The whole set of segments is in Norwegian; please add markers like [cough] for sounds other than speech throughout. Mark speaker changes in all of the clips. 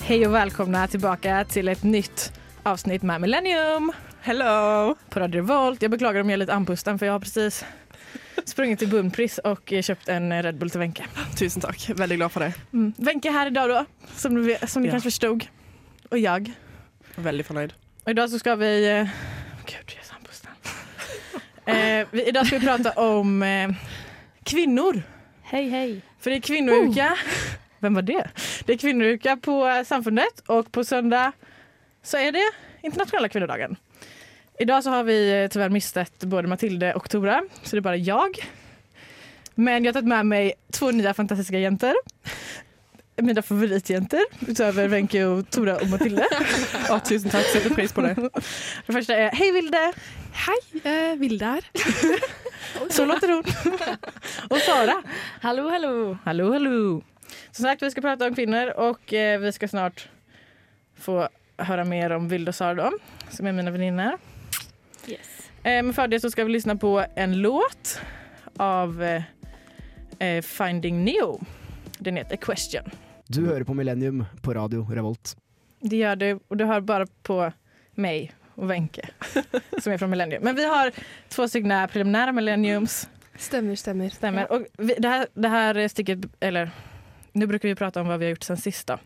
Speaker 1: Hej och välkomna tillbaka till ett nytt avsnitt med Millennium
Speaker 2: Hello!
Speaker 1: på Radio Revolt. Jag beklagar om jag är lite andpusten för jag har precis sprungit till Bunnpris och köpt en Red Bull till Wenche.
Speaker 2: Tusen takk. Veldig glad for det.
Speaker 1: Mm. Wenche är här idag då, som ni, vet- som ni
Speaker 2: Ja.
Speaker 1: kanske förstod. Och jag.
Speaker 2: Veldig fornøyd.
Speaker 1: Och idag så ska vi... eh, Gud, jag är så
Speaker 2: [laughs]
Speaker 1: andpusten. Eh, vi, idag ska vi prata om eh, kvinnor.
Speaker 3: Hej hej!
Speaker 1: För det är kvinnouka. Vem var det? Det är kvinnouka på eh, samfundet och på söndag så är det internationella kvinnodagen. Idag så har vi eh, tyvärr mistat både Matilde och Tora så det är bara jag. Men jag har tagit med mig två nya fantastiska jenter. Mina favoritjenter utöver Wenche och Tora og Matilde.
Speaker 2: Å, tusen takk. Setter pris på det.
Speaker 1: Den første er Hej Vilde!
Speaker 3: Hej! Eh, Vilde här.
Speaker 1: Så låter hon. [laughs] och Sara.
Speaker 3: Hallå hallå!
Speaker 1: Hallå, hallå! Som sagt, vi ska prata om kvinnor och eh, vi ska snart få höra mer om Vilde och Sara då, som är mina väninnor.
Speaker 3: Yes.
Speaker 1: Eh, men för det så ska vi lyssna på en låt av eh, eh, Finding Neo. Den heter Question.
Speaker 4: Du hører på Millennium på radio Revolt.
Speaker 1: Det gör du och du hör bara på mig och Wenche som är från Millennium. Men vi har två stycken preliminära Millenniums
Speaker 5: Stemmer, stemmer.
Speaker 1: Stämmer. Och vi, det, här, det här sticket, eller nu brukar vi prata om vad vi har gjort sen sist då. Eh,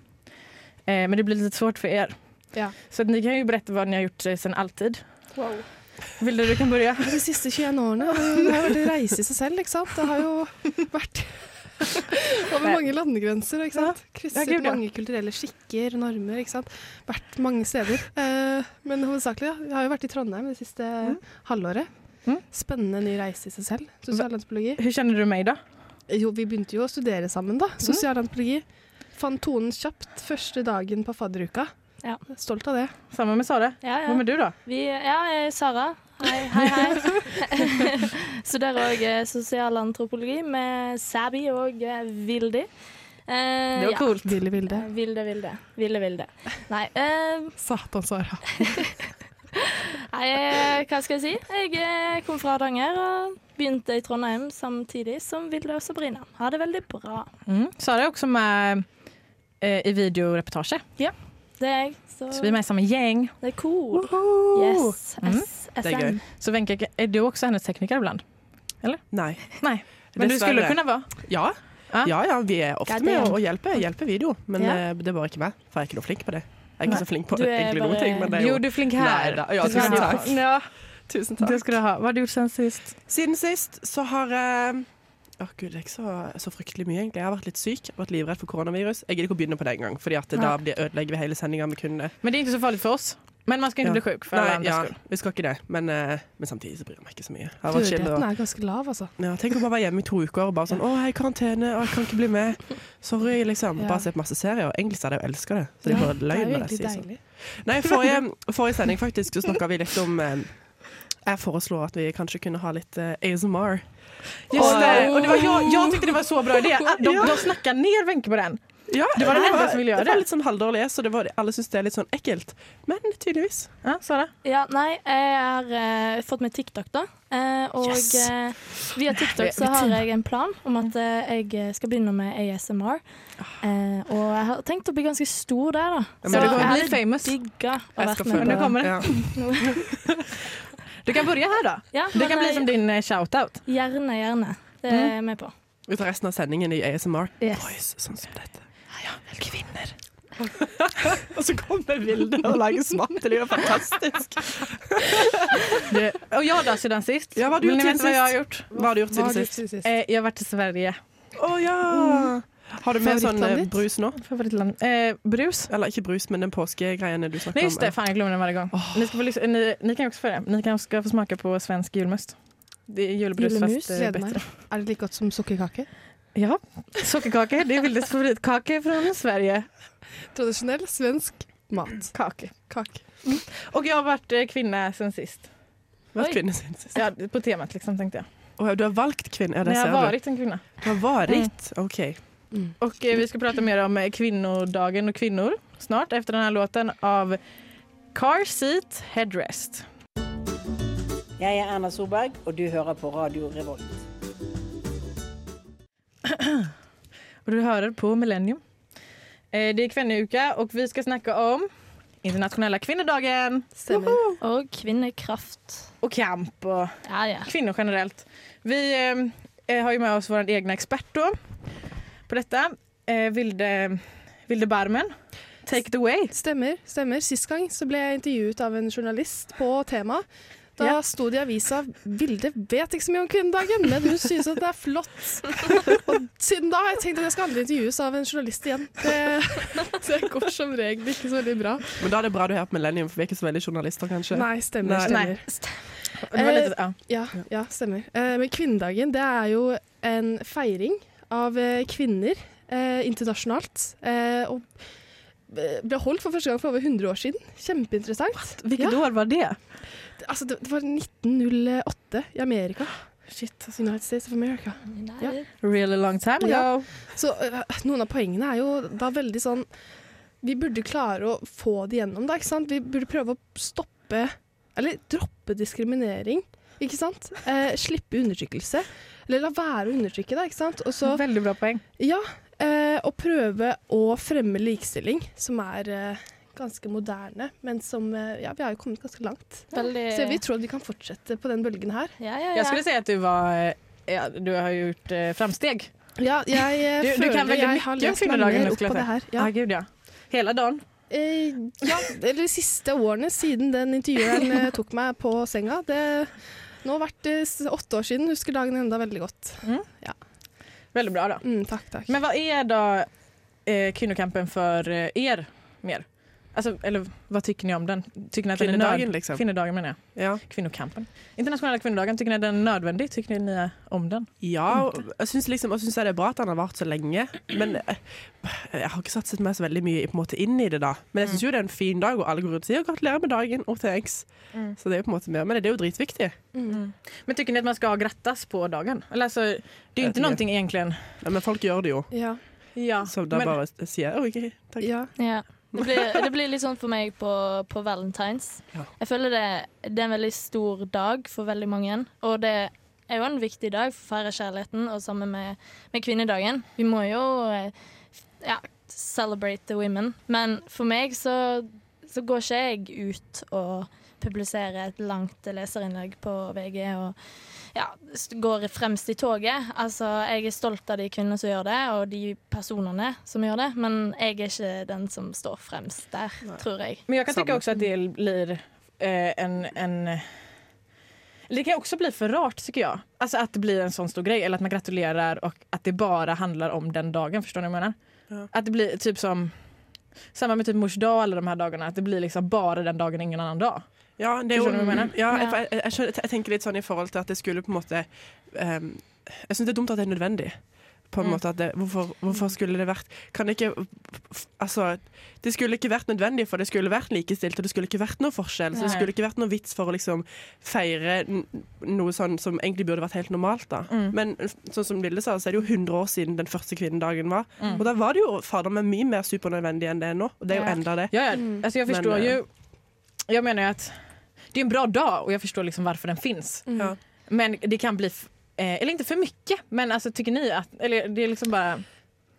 Speaker 1: men det blir lite svårt för er.
Speaker 5: Ja.
Speaker 1: Så att ni kan ju berätta vad ni har gjort eh, sen alltid.
Speaker 5: Wow.
Speaker 1: Vill du, du kan börja.
Speaker 5: De siste 21 årene har jo- det har vært en reise i seg selv. ikke sant? Det har jo vært [laughs] over mange landegrenser. ikke sant? Krysset
Speaker 1: gud, ja.
Speaker 5: mange kulturelle skikker, normer. ikke sant? Vært mange steder. Eh, men hovedsakelig, ja. Jeg har jo vært i Trondheim det siste halvåret.
Speaker 1: Mm.
Speaker 5: Spennende ny reise i seg selv. Sosialantropologi.
Speaker 1: Hur känner du mig då?
Speaker 5: Jo, vi begynte jo å studere sammen,
Speaker 2: Mm.
Speaker 5: da. Sosialantropologi. Fant tonen kjapt første dagen på fadderuka.
Speaker 3: Ja.
Speaker 5: Stolt av det.
Speaker 1: Samma med Sara.
Speaker 3: Ja,
Speaker 1: Vem är
Speaker 3: ja.
Speaker 1: du då?
Speaker 3: Vi, ja, jeg er Sara. Hei, hei. hei. Studerer òg sosialantropologi med Sabi og eh, Vilde. Eh,
Speaker 1: Det var coolt.
Speaker 5: Ville Vilde.
Speaker 3: Ja. Vilde, Vilde. Vilde, Vilde. Nei, eh,
Speaker 5: Satan, Sara.
Speaker 3: nei eh, hva skal jeg si? Jeg eh, kom fra Hardanger og begynte i Trondheim samtidig som Vilde og Sabrina. Ha det veldig bra.
Speaker 1: Mm. Sara är också med eh, i videoreportage.
Speaker 3: Det er jeg. Så
Speaker 1: Så vi är med i samma gäng.
Speaker 3: det er cool. Yes.
Speaker 1: Mm.
Speaker 3: S
Speaker 2: Det er gøy.
Speaker 3: SN.
Speaker 1: Så Wenche, är du också hennes tekniker ibland?
Speaker 2: Nei.
Speaker 1: Nei. Men du skulle kunna vara.
Speaker 2: Ja.
Speaker 1: Ja.
Speaker 2: ja ja, vi er ofte
Speaker 3: Ja, det
Speaker 2: med
Speaker 3: er-
Speaker 2: å hjelpe, hjelpe video, men
Speaker 3: Ja.
Speaker 2: eh, det er bare ikke meg. For jeg er ikke noe flink på det. Jeg
Speaker 1: Nei.
Speaker 2: er ikke så flink på
Speaker 3: Du er
Speaker 2: egentlig noen
Speaker 3: bare-
Speaker 2: ting, men det er
Speaker 1: Jo,
Speaker 2: jo
Speaker 1: du är flink här.
Speaker 2: Nei da. Ja,
Speaker 1: Du ska
Speaker 2: tusen
Speaker 1: ha-
Speaker 2: takk.
Speaker 1: Ja,
Speaker 2: Tusen
Speaker 1: det
Speaker 2: takk.
Speaker 1: ska du ha. Vad har du gjort sen sist?
Speaker 2: Siden sist så har jeg Åh gud, det er ikke så, så fryktelig mye, egentlig. Jeg har vært litt syk, vært livredd for koronavirus. Jeg gidder ikke å begynne på det engang, for da
Speaker 1: Nei.
Speaker 2: blir- ødelegger vi hele sendinga med kun det.
Speaker 1: Men det är inte så farligt för oss. Men man ska inte
Speaker 2: Ja.
Speaker 1: bli sjuk för alla
Speaker 2: Nei,
Speaker 1: andras
Speaker 2: ja,
Speaker 1: skull.
Speaker 2: vi skal ikke det, men, eh, men samtidig så bryr jeg meg ikke så mye. Jeg har vært chill og
Speaker 5: Dødeligheten er ganske lav, altså.
Speaker 2: Ja, tenk å bare være hjemme i to uker og bare sånn 'Å, jeg er i karantene, og jeg kan ikke bli med.' Sorry, liksom.
Speaker 5: Ja.
Speaker 2: Bare se på masse serier. Og Egentlig så hadde jeg jo elska det. Så det
Speaker 5: Ja,
Speaker 2: er bare løgn når jeg
Speaker 5: egentlig
Speaker 2: sier sånn.
Speaker 5: deilig.
Speaker 2: Nei, forrige, forrige sending faktisk så snakka vi litt om eh, jeg foreslår at vi kanskje kunne ha litt eh, ASMR.
Speaker 1: Just
Speaker 2: Åh.
Speaker 1: det. Och det var jag, jag tyckte det var så bra idé. De, de snackade ner Wenche på den.
Speaker 2: Ja,
Speaker 1: Du var den enda som ville gjøre
Speaker 2: det. var
Speaker 1: det.
Speaker 2: litt sånn halvdårlig, så det var, alle syns det er litt sånn ekkelt. Men tydeligvis.
Speaker 1: Ja, Sara?
Speaker 3: Ja, nei, jeg har eh, fått meg TikTok, da. Eh, og
Speaker 2: Yes.
Speaker 3: eh, via TikTok så har jeg en plan om at eh, jeg skal begynne med ASMR. Eh, og jeg har tenkt å bli ganske stor der, da.
Speaker 2: Ja,
Speaker 3: så
Speaker 2: men du
Speaker 3: jeg
Speaker 2: kommer
Speaker 1: bli
Speaker 3: hadde
Speaker 1: famous.
Speaker 3: digga å
Speaker 2: Jeg
Speaker 3: vært
Speaker 2: skal
Speaker 3: med
Speaker 1: Men
Speaker 2: følge
Speaker 1: nu
Speaker 3: på
Speaker 1: kommer det.
Speaker 2: Ja.
Speaker 1: Du kan börja här då.
Speaker 3: Ja,
Speaker 1: Det
Speaker 3: men,
Speaker 1: kan bli
Speaker 3: eh,
Speaker 1: som din eh, shoutout.
Speaker 3: Gjerne, gjerne. Det er jeg med på.
Speaker 2: Vi tar resten av sendingen i ASMR.
Speaker 3: Yes.
Speaker 2: Voice, sånn som dette.
Speaker 1: Kvinner.
Speaker 2: Og så kommer Vilde og lager smattelyd. Fantastisk.
Speaker 1: Och jag då sedan sist?
Speaker 2: Ja, vad har du
Speaker 1: Vill ni
Speaker 2: gjort
Speaker 1: veta
Speaker 2: sen
Speaker 1: vad jag har
Speaker 2: sist?
Speaker 1: gjort?
Speaker 2: Hva har du gjort
Speaker 5: Hva
Speaker 2: siden
Speaker 5: har du
Speaker 2: sist?
Speaker 5: gjort siden sist?
Speaker 1: Eh, jag har varit i Sverige.
Speaker 2: Å ja! Har du med sånn
Speaker 5: Favorittlandet
Speaker 2: eh,
Speaker 5: ditt?
Speaker 2: brus nå?
Speaker 1: Favoritland. Eh, brus.
Speaker 2: Eller ikke brus, men den påskegreiene du snakker
Speaker 1: Nej just det,
Speaker 2: om.
Speaker 1: fan jag glömmer den varje gång. Ni, ska få, lyssna- ni, ni kan också få det. Ni kan ska få smaka på svensk julmust. Det är julbrus
Speaker 3: Julmus?
Speaker 1: fast eh,
Speaker 5: Gleder
Speaker 1: bättre.
Speaker 5: meg. Er det like godt som sukkerkake?
Speaker 1: [laughs] Ja, sockerkaka. Det är Vildes favoritkaka från Sverige.
Speaker 5: Tradisjonell svensk mat.
Speaker 1: Kake.
Speaker 5: Kake.
Speaker 1: Och jag har varit eh, kvinna sen sist.
Speaker 2: Vært
Speaker 3: Oi.
Speaker 2: kvinne siden sist.
Speaker 1: Ja, på temat liksom tänkte jag.
Speaker 2: Åh, du har valgt kvinne? Ja,
Speaker 1: När
Speaker 2: det
Speaker 1: jag har
Speaker 2: ser du.
Speaker 1: varit en kvinna.
Speaker 2: Du har varit? OK.
Speaker 1: Och eh, vi ska prata mer om eh, kvinnodagen och kvinnor snart efter den här låten av Car Seat Headrest.
Speaker 6: Jeg er Erna Solberg, og du hører på Radio Revolt.
Speaker 1: Och du hör på Millennium. Eh, Det är kvinnouka och vi ska snacka om internationella kvinnodagen
Speaker 5: Stemmer.
Speaker 3: Og kvinnekraft.
Speaker 1: och kamp och
Speaker 3: Ja, ja.
Speaker 1: kvinnor generellt. Vi eh, har ju med oss vår egna expert då på detta. Eh, Vilde, Vilde Barmen. Take it away.
Speaker 5: Stemmer. stemmer. Sist gang så ble jeg intervjuet av en journalist på temaet. Da
Speaker 1: Ja.
Speaker 5: sto det i avisa 'Vilde vet ikke så mye om kvinnedagen, men hun synes at det er [laughs] flott'. Og siden da har jeg tenkt at jeg skal aldri intervjues av en journalist igjen. Det, så det går som regel ikke så veldig bra.
Speaker 2: Men da er det bra du er her på Millennium, for vi er ikke så veldig journalister, kanskje.
Speaker 5: Nei, stemmer.
Speaker 2: Nei.
Speaker 5: stemmer.
Speaker 1: Det var lite, ja.
Speaker 5: Ja, ja stemmer. Eh, men kvinnedagen det er jo en feiring av eh, kvinner eh, internasjonalt. Eh, og eh, ble holdt for første gang for over 100 år siden. Kjempeinteressant.
Speaker 1: Vilket år var det?
Speaker 5: Det- Altså, det, det var 1908 i Amerika.
Speaker 1: Shit.
Speaker 5: United States of America. Ja.
Speaker 1: Really long time ago.
Speaker 5: Ja. Så eh, noen av poengene er jo da veldig sånn Vi burde klare å få det gjennom, da. ikke sant? Vi burde prøve å stoppe Eller droppe diskriminering, ikke sant? Eh, slippe undertrykkelse. Eller la være å undertrykke, da. ikke sant? Og så
Speaker 1: Veldig bra poäng.
Speaker 5: Ja. Eh, og prøve å fremme likestilling, som er eh, ganske moderne. Men som eh, Ja, vi har jo kommet ganske langt.
Speaker 3: Veldig
Speaker 5: Så vi tror at vi kan fortsette på den bølgen her.
Speaker 3: Ja, ja,
Speaker 1: Jag
Speaker 3: ja.
Speaker 1: skulle säga att du var eh, Ja, du har gjort eh, framsteg.
Speaker 5: Ja, jeg eh,
Speaker 1: Du- du
Speaker 5: føler
Speaker 1: kan veldig
Speaker 5: jeg
Speaker 1: mye
Speaker 5: har
Speaker 1: om
Speaker 5: lest meg
Speaker 1: kvinnedagen,
Speaker 5: mer opp
Speaker 1: skulle jeg
Speaker 5: på
Speaker 1: si.
Speaker 5: det her.
Speaker 1: Ja,
Speaker 5: Ja.
Speaker 1: Ah, gud ja. Hela dagen.
Speaker 5: Eh, ja, eller de siste årene siden den intervjueren eh, tok meg på senga. Det nå har vært eh, s- åtte år siden, husker dagen enda veldig godt.
Speaker 1: Väldigt bra då.
Speaker 5: Mm, takk, takk.
Speaker 1: Men vad är då eh, kvinnokampen för eh, er mer? Alltså, eller vad tycker ni om den? Tycker ni att den är
Speaker 2: Kvinnedagen,
Speaker 1: nöd-
Speaker 2: liksom.
Speaker 1: Kvinnodagen menar jag.
Speaker 2: Ja.
Speaker 1: Kvinnokampen. Internationella kvinnodagen, tycker ni den är nödvändig? Tycker ni eh, om den?
Speaker 2: Ja, og jeg syns liksom, jeg synes det er bra at han har vart så lenge. Men eh, jeg har ikke satset meg så veldig mye på en måte inn i det, da. Men jeg syns jo det er en fin dag, og alle går rundt og sier 'gratulerer med dagen' og thanks.
Speaker 1: Mm.
Speaker 2: Så det er jo på en måte mer. Men det er jo dritviktig.
Speaker 1: Men tycker ni att man ska grattas på dagen? Eller altså, det är ju
Speaker 2: Jag
Speaker 1: inte
Speaker 2: tycker-
Speaker 1: någonting egentligen.
Speaker 2: Ja, Men folk gjør det jo.
Speaker 5: Ja,
Speaker 1: Ja,
Speaker 2: Så da
Speaker 1: men-
Speaker 2: bare sier jeg «Å, OK, takk.
Speaker 5: ja.
Speaker 3: Ja. Det blir, det blir litt sånn for meg på, på Valentines.
Speaker 2: Ja.
Speaker 3: Jeg føler det, det er en veldig stor dag for veldig mange. Og det er jo en viktig dag for å feire kjærligheten, og sammen med, med kvinnedagen. Vi må jo eh, ja, celebrate the women. Men for meg så, så går ikke jeg ut og publiserer et langt leserinnlegg på VG og ja, s- går fremst i toget. Altså, jeg er stolt av de kvinnene som gjør det, og de personene som gjør det, men jeg er ikke den som står fremst der, tror jeg.
Speaker 1: Men jag kan tycka
Speaker 2: Samma. Mm.
Speaker 1: också att det blir eh, en, en... Det kan också bli för rart tycker jag. Alltså att det blir en sån stor grej eller att man gratulerar och att det bara handlar om den dagen. Förstår ni vad jag menar?
Speaker 2: Ja.
Speaker 1: Att det blir typ som... Samma med typ mors dag och alla de här dagarna. At det blir liksom bara den dagen, ingen annan dag.
Speaker 2: Ja, det er jo,
Speaker 1: Skjønner du hva jeg mener?
Speaker 2: ja jeg,
Speaker 3: Ja.
Speaker 2: jeg, jeg, skjønner- jeg tenker litt sånn i forhold til at det skulle på en måte ehm, Jeg syns det er dumt at det er nødvendig. På en
Speaker 1: Mm.
Speaker 2: måte at det, hvorfor, hvorfor skulle det vært Kan det ikke Altså, det skulle ikke vært nødvendig, for det skulle vært likestilt, og det skulle ikke vært noe forskjell. Så det
Speaker 1: Nei.
Speaker 2: skulle ikke vært noe vits for å liksom feire n- noe sånn som egentlig burde vært helt normalt, da.
Speaker 1: Mm.
Speaker 2: Men sånn som Vilde sa, så er det jo 100 år siden den første kvinnedagen var.
Speaker 1: Mm.
Speaker 2: Og da var det jo fader meg mye mer supernødvendig enn det er nå. Og det er jo
Speaker 3: Ja.
Speaker 2: enda det.
Speaker 1: Ja, ja.
Speaker 3: Mm.
Speaker 1: Alltså jag
Speaker 2: Men,
Speaker 1: förstår
Speaker 2: eh,
Speaker 1: ju... Jag menar ju att det är en bra dag och jag förstår liksom varför den finns.
Speaker 2: Ja.
Speaker 1: Men det kan bli... f- Eh, eller inte för mycket, men alltså tycker ni att... Eller det är liksom bara...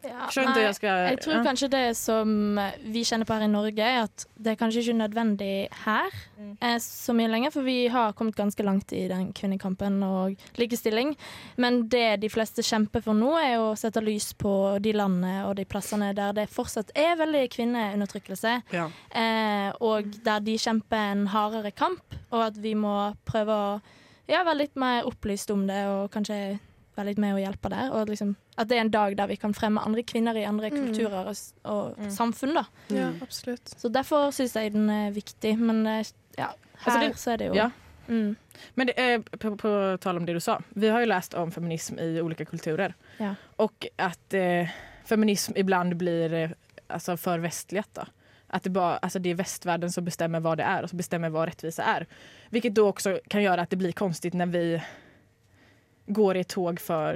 Speaker 3: Ja,
Speaker 1: Skjønner ikke
Speaker 3: nei,
Speaker 1: jeg skal-
Speaker 3: jeg tror
Speaker 1: ja.
Speaker 3: kanskje det som eh, vi kjenner på her i Norge, er at det er kanskje ikke nødvendig her eh, så mye lenger, for vi har kommet ganske langt i den kvinnekampen og likestilling. Men det de fleste kjemper for nå, er å sette lys på de landene og de plassene der det fortsatt er veldig kvinneundertrykkelse.
Speaker 2: Ja.
Speaker 3: Eh, og der de kjemper en hardere kamp, og at vi må prøve å ja, være litt mer opplyst om det, og kanskje være litt med og hjelpe der. Og liksom, at det er en dag der vi kan fremme andre kvinner i andre
Speaker 5: Mm.
Speaker 3: kulturer og, s- og samfunn. da.
Speaker 5: ja absolutt.
Speaker 3: Så derfor syns jeg den er viktig, men eh, ja, her
Speaker 1: Altså, det-
Speaker 3: så er det jo
Speaker 1: ja.
Speaker 3: Mm,
Speaker 1: Men det, eh, på, på tal om det du sa, vi har ju läst om feminism i olika kulturer.
Speaker 3: Ja.
Speaker 1: Och att eh, feminism ibland blir eh, alltså, för västligt. Då. Att det, bara, alltså, det är västvärlden som bestämmer vad det är och som bestämmer vad rättvisa är. Vilket då också kan göra att det blir konstigt när vi går i ett tåg för...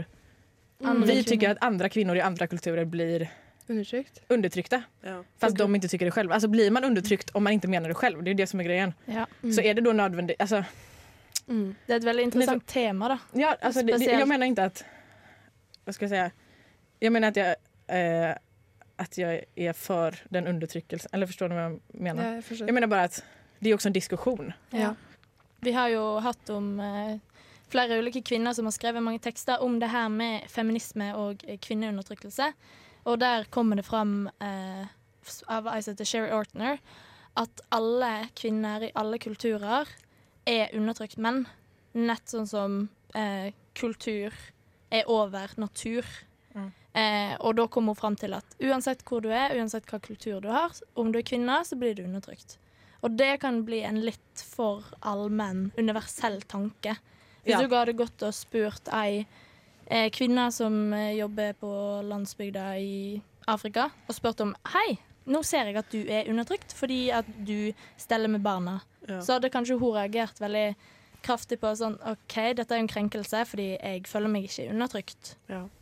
Speaker 5: Mm.
Speaker 3: Andre
Speaker 1: vi
Speaker 3: kvinner.
Speaker 1: tycker att andra kvinnor i andra kulturer blir
Speaker 5: Undertrykt.
Speaker 1: undertryckta.
Speaker 2: Ja.
Speaker 1: Fast de inte tycker det själva. Alltså blir man undertryckt om man inte menar det själv, det är ju det som är grejen.
Speaker 3: ja.
Speaker 1: Så är det då nödvändigt... Alltså,
Speaker 5: Mm.
Speaker 3: Det er et veldig interessant tema, da.
Speaker 1: Ja, alltså det, det,
Speaker 3: Speciellt.
Speaker 1: jag menar inte att... Vad ska jag säga? Jag menar att jag... Eh, att jag är för den undertryckelsen. Eller förstår ni vad jag menar?
Speaker 5: Ja, jeg forstår.
Speaker 1: Jag menar bara att det är också en diskussion.
Speaker 5: Ja.
Speaker 3: Vi har jo hatt om eh, flere ulike kvinner som har skrevet mange tekster om det her med feminisme og eh, kvinneundertrykkelse. Og der kommer det fram eh, s- av ei som heter Sherry Ortner, at alle kvinner i alle kulturer er undertrykt menn. Nett sånn som eh, kultur er over natur.
Speaker 7: Mm.
Speaker 3: Eh, og da kom hun fram til at uansett hvor du er, uansett hva kultur du har, om du er kvinne, så blir du undertrykt. Og det kan bli en litt for allmenn, universell tanke. Hvis
Speaker 1: Ja.
Speaker 3: du hadde gått og spurt ei eh, kvinne som eh, jobber på landsbygda i Afrika, og spurt om Hei, nå ser jeg at du er undertrykt fordi at du steller med barna.
Speaker 2: Ja.
Speaker 3: Så hadde kanskje hun reagert veldig kraftig på sånn OK, dette er jo en krenkelse fordi jeg føler meg ikke undertrykt.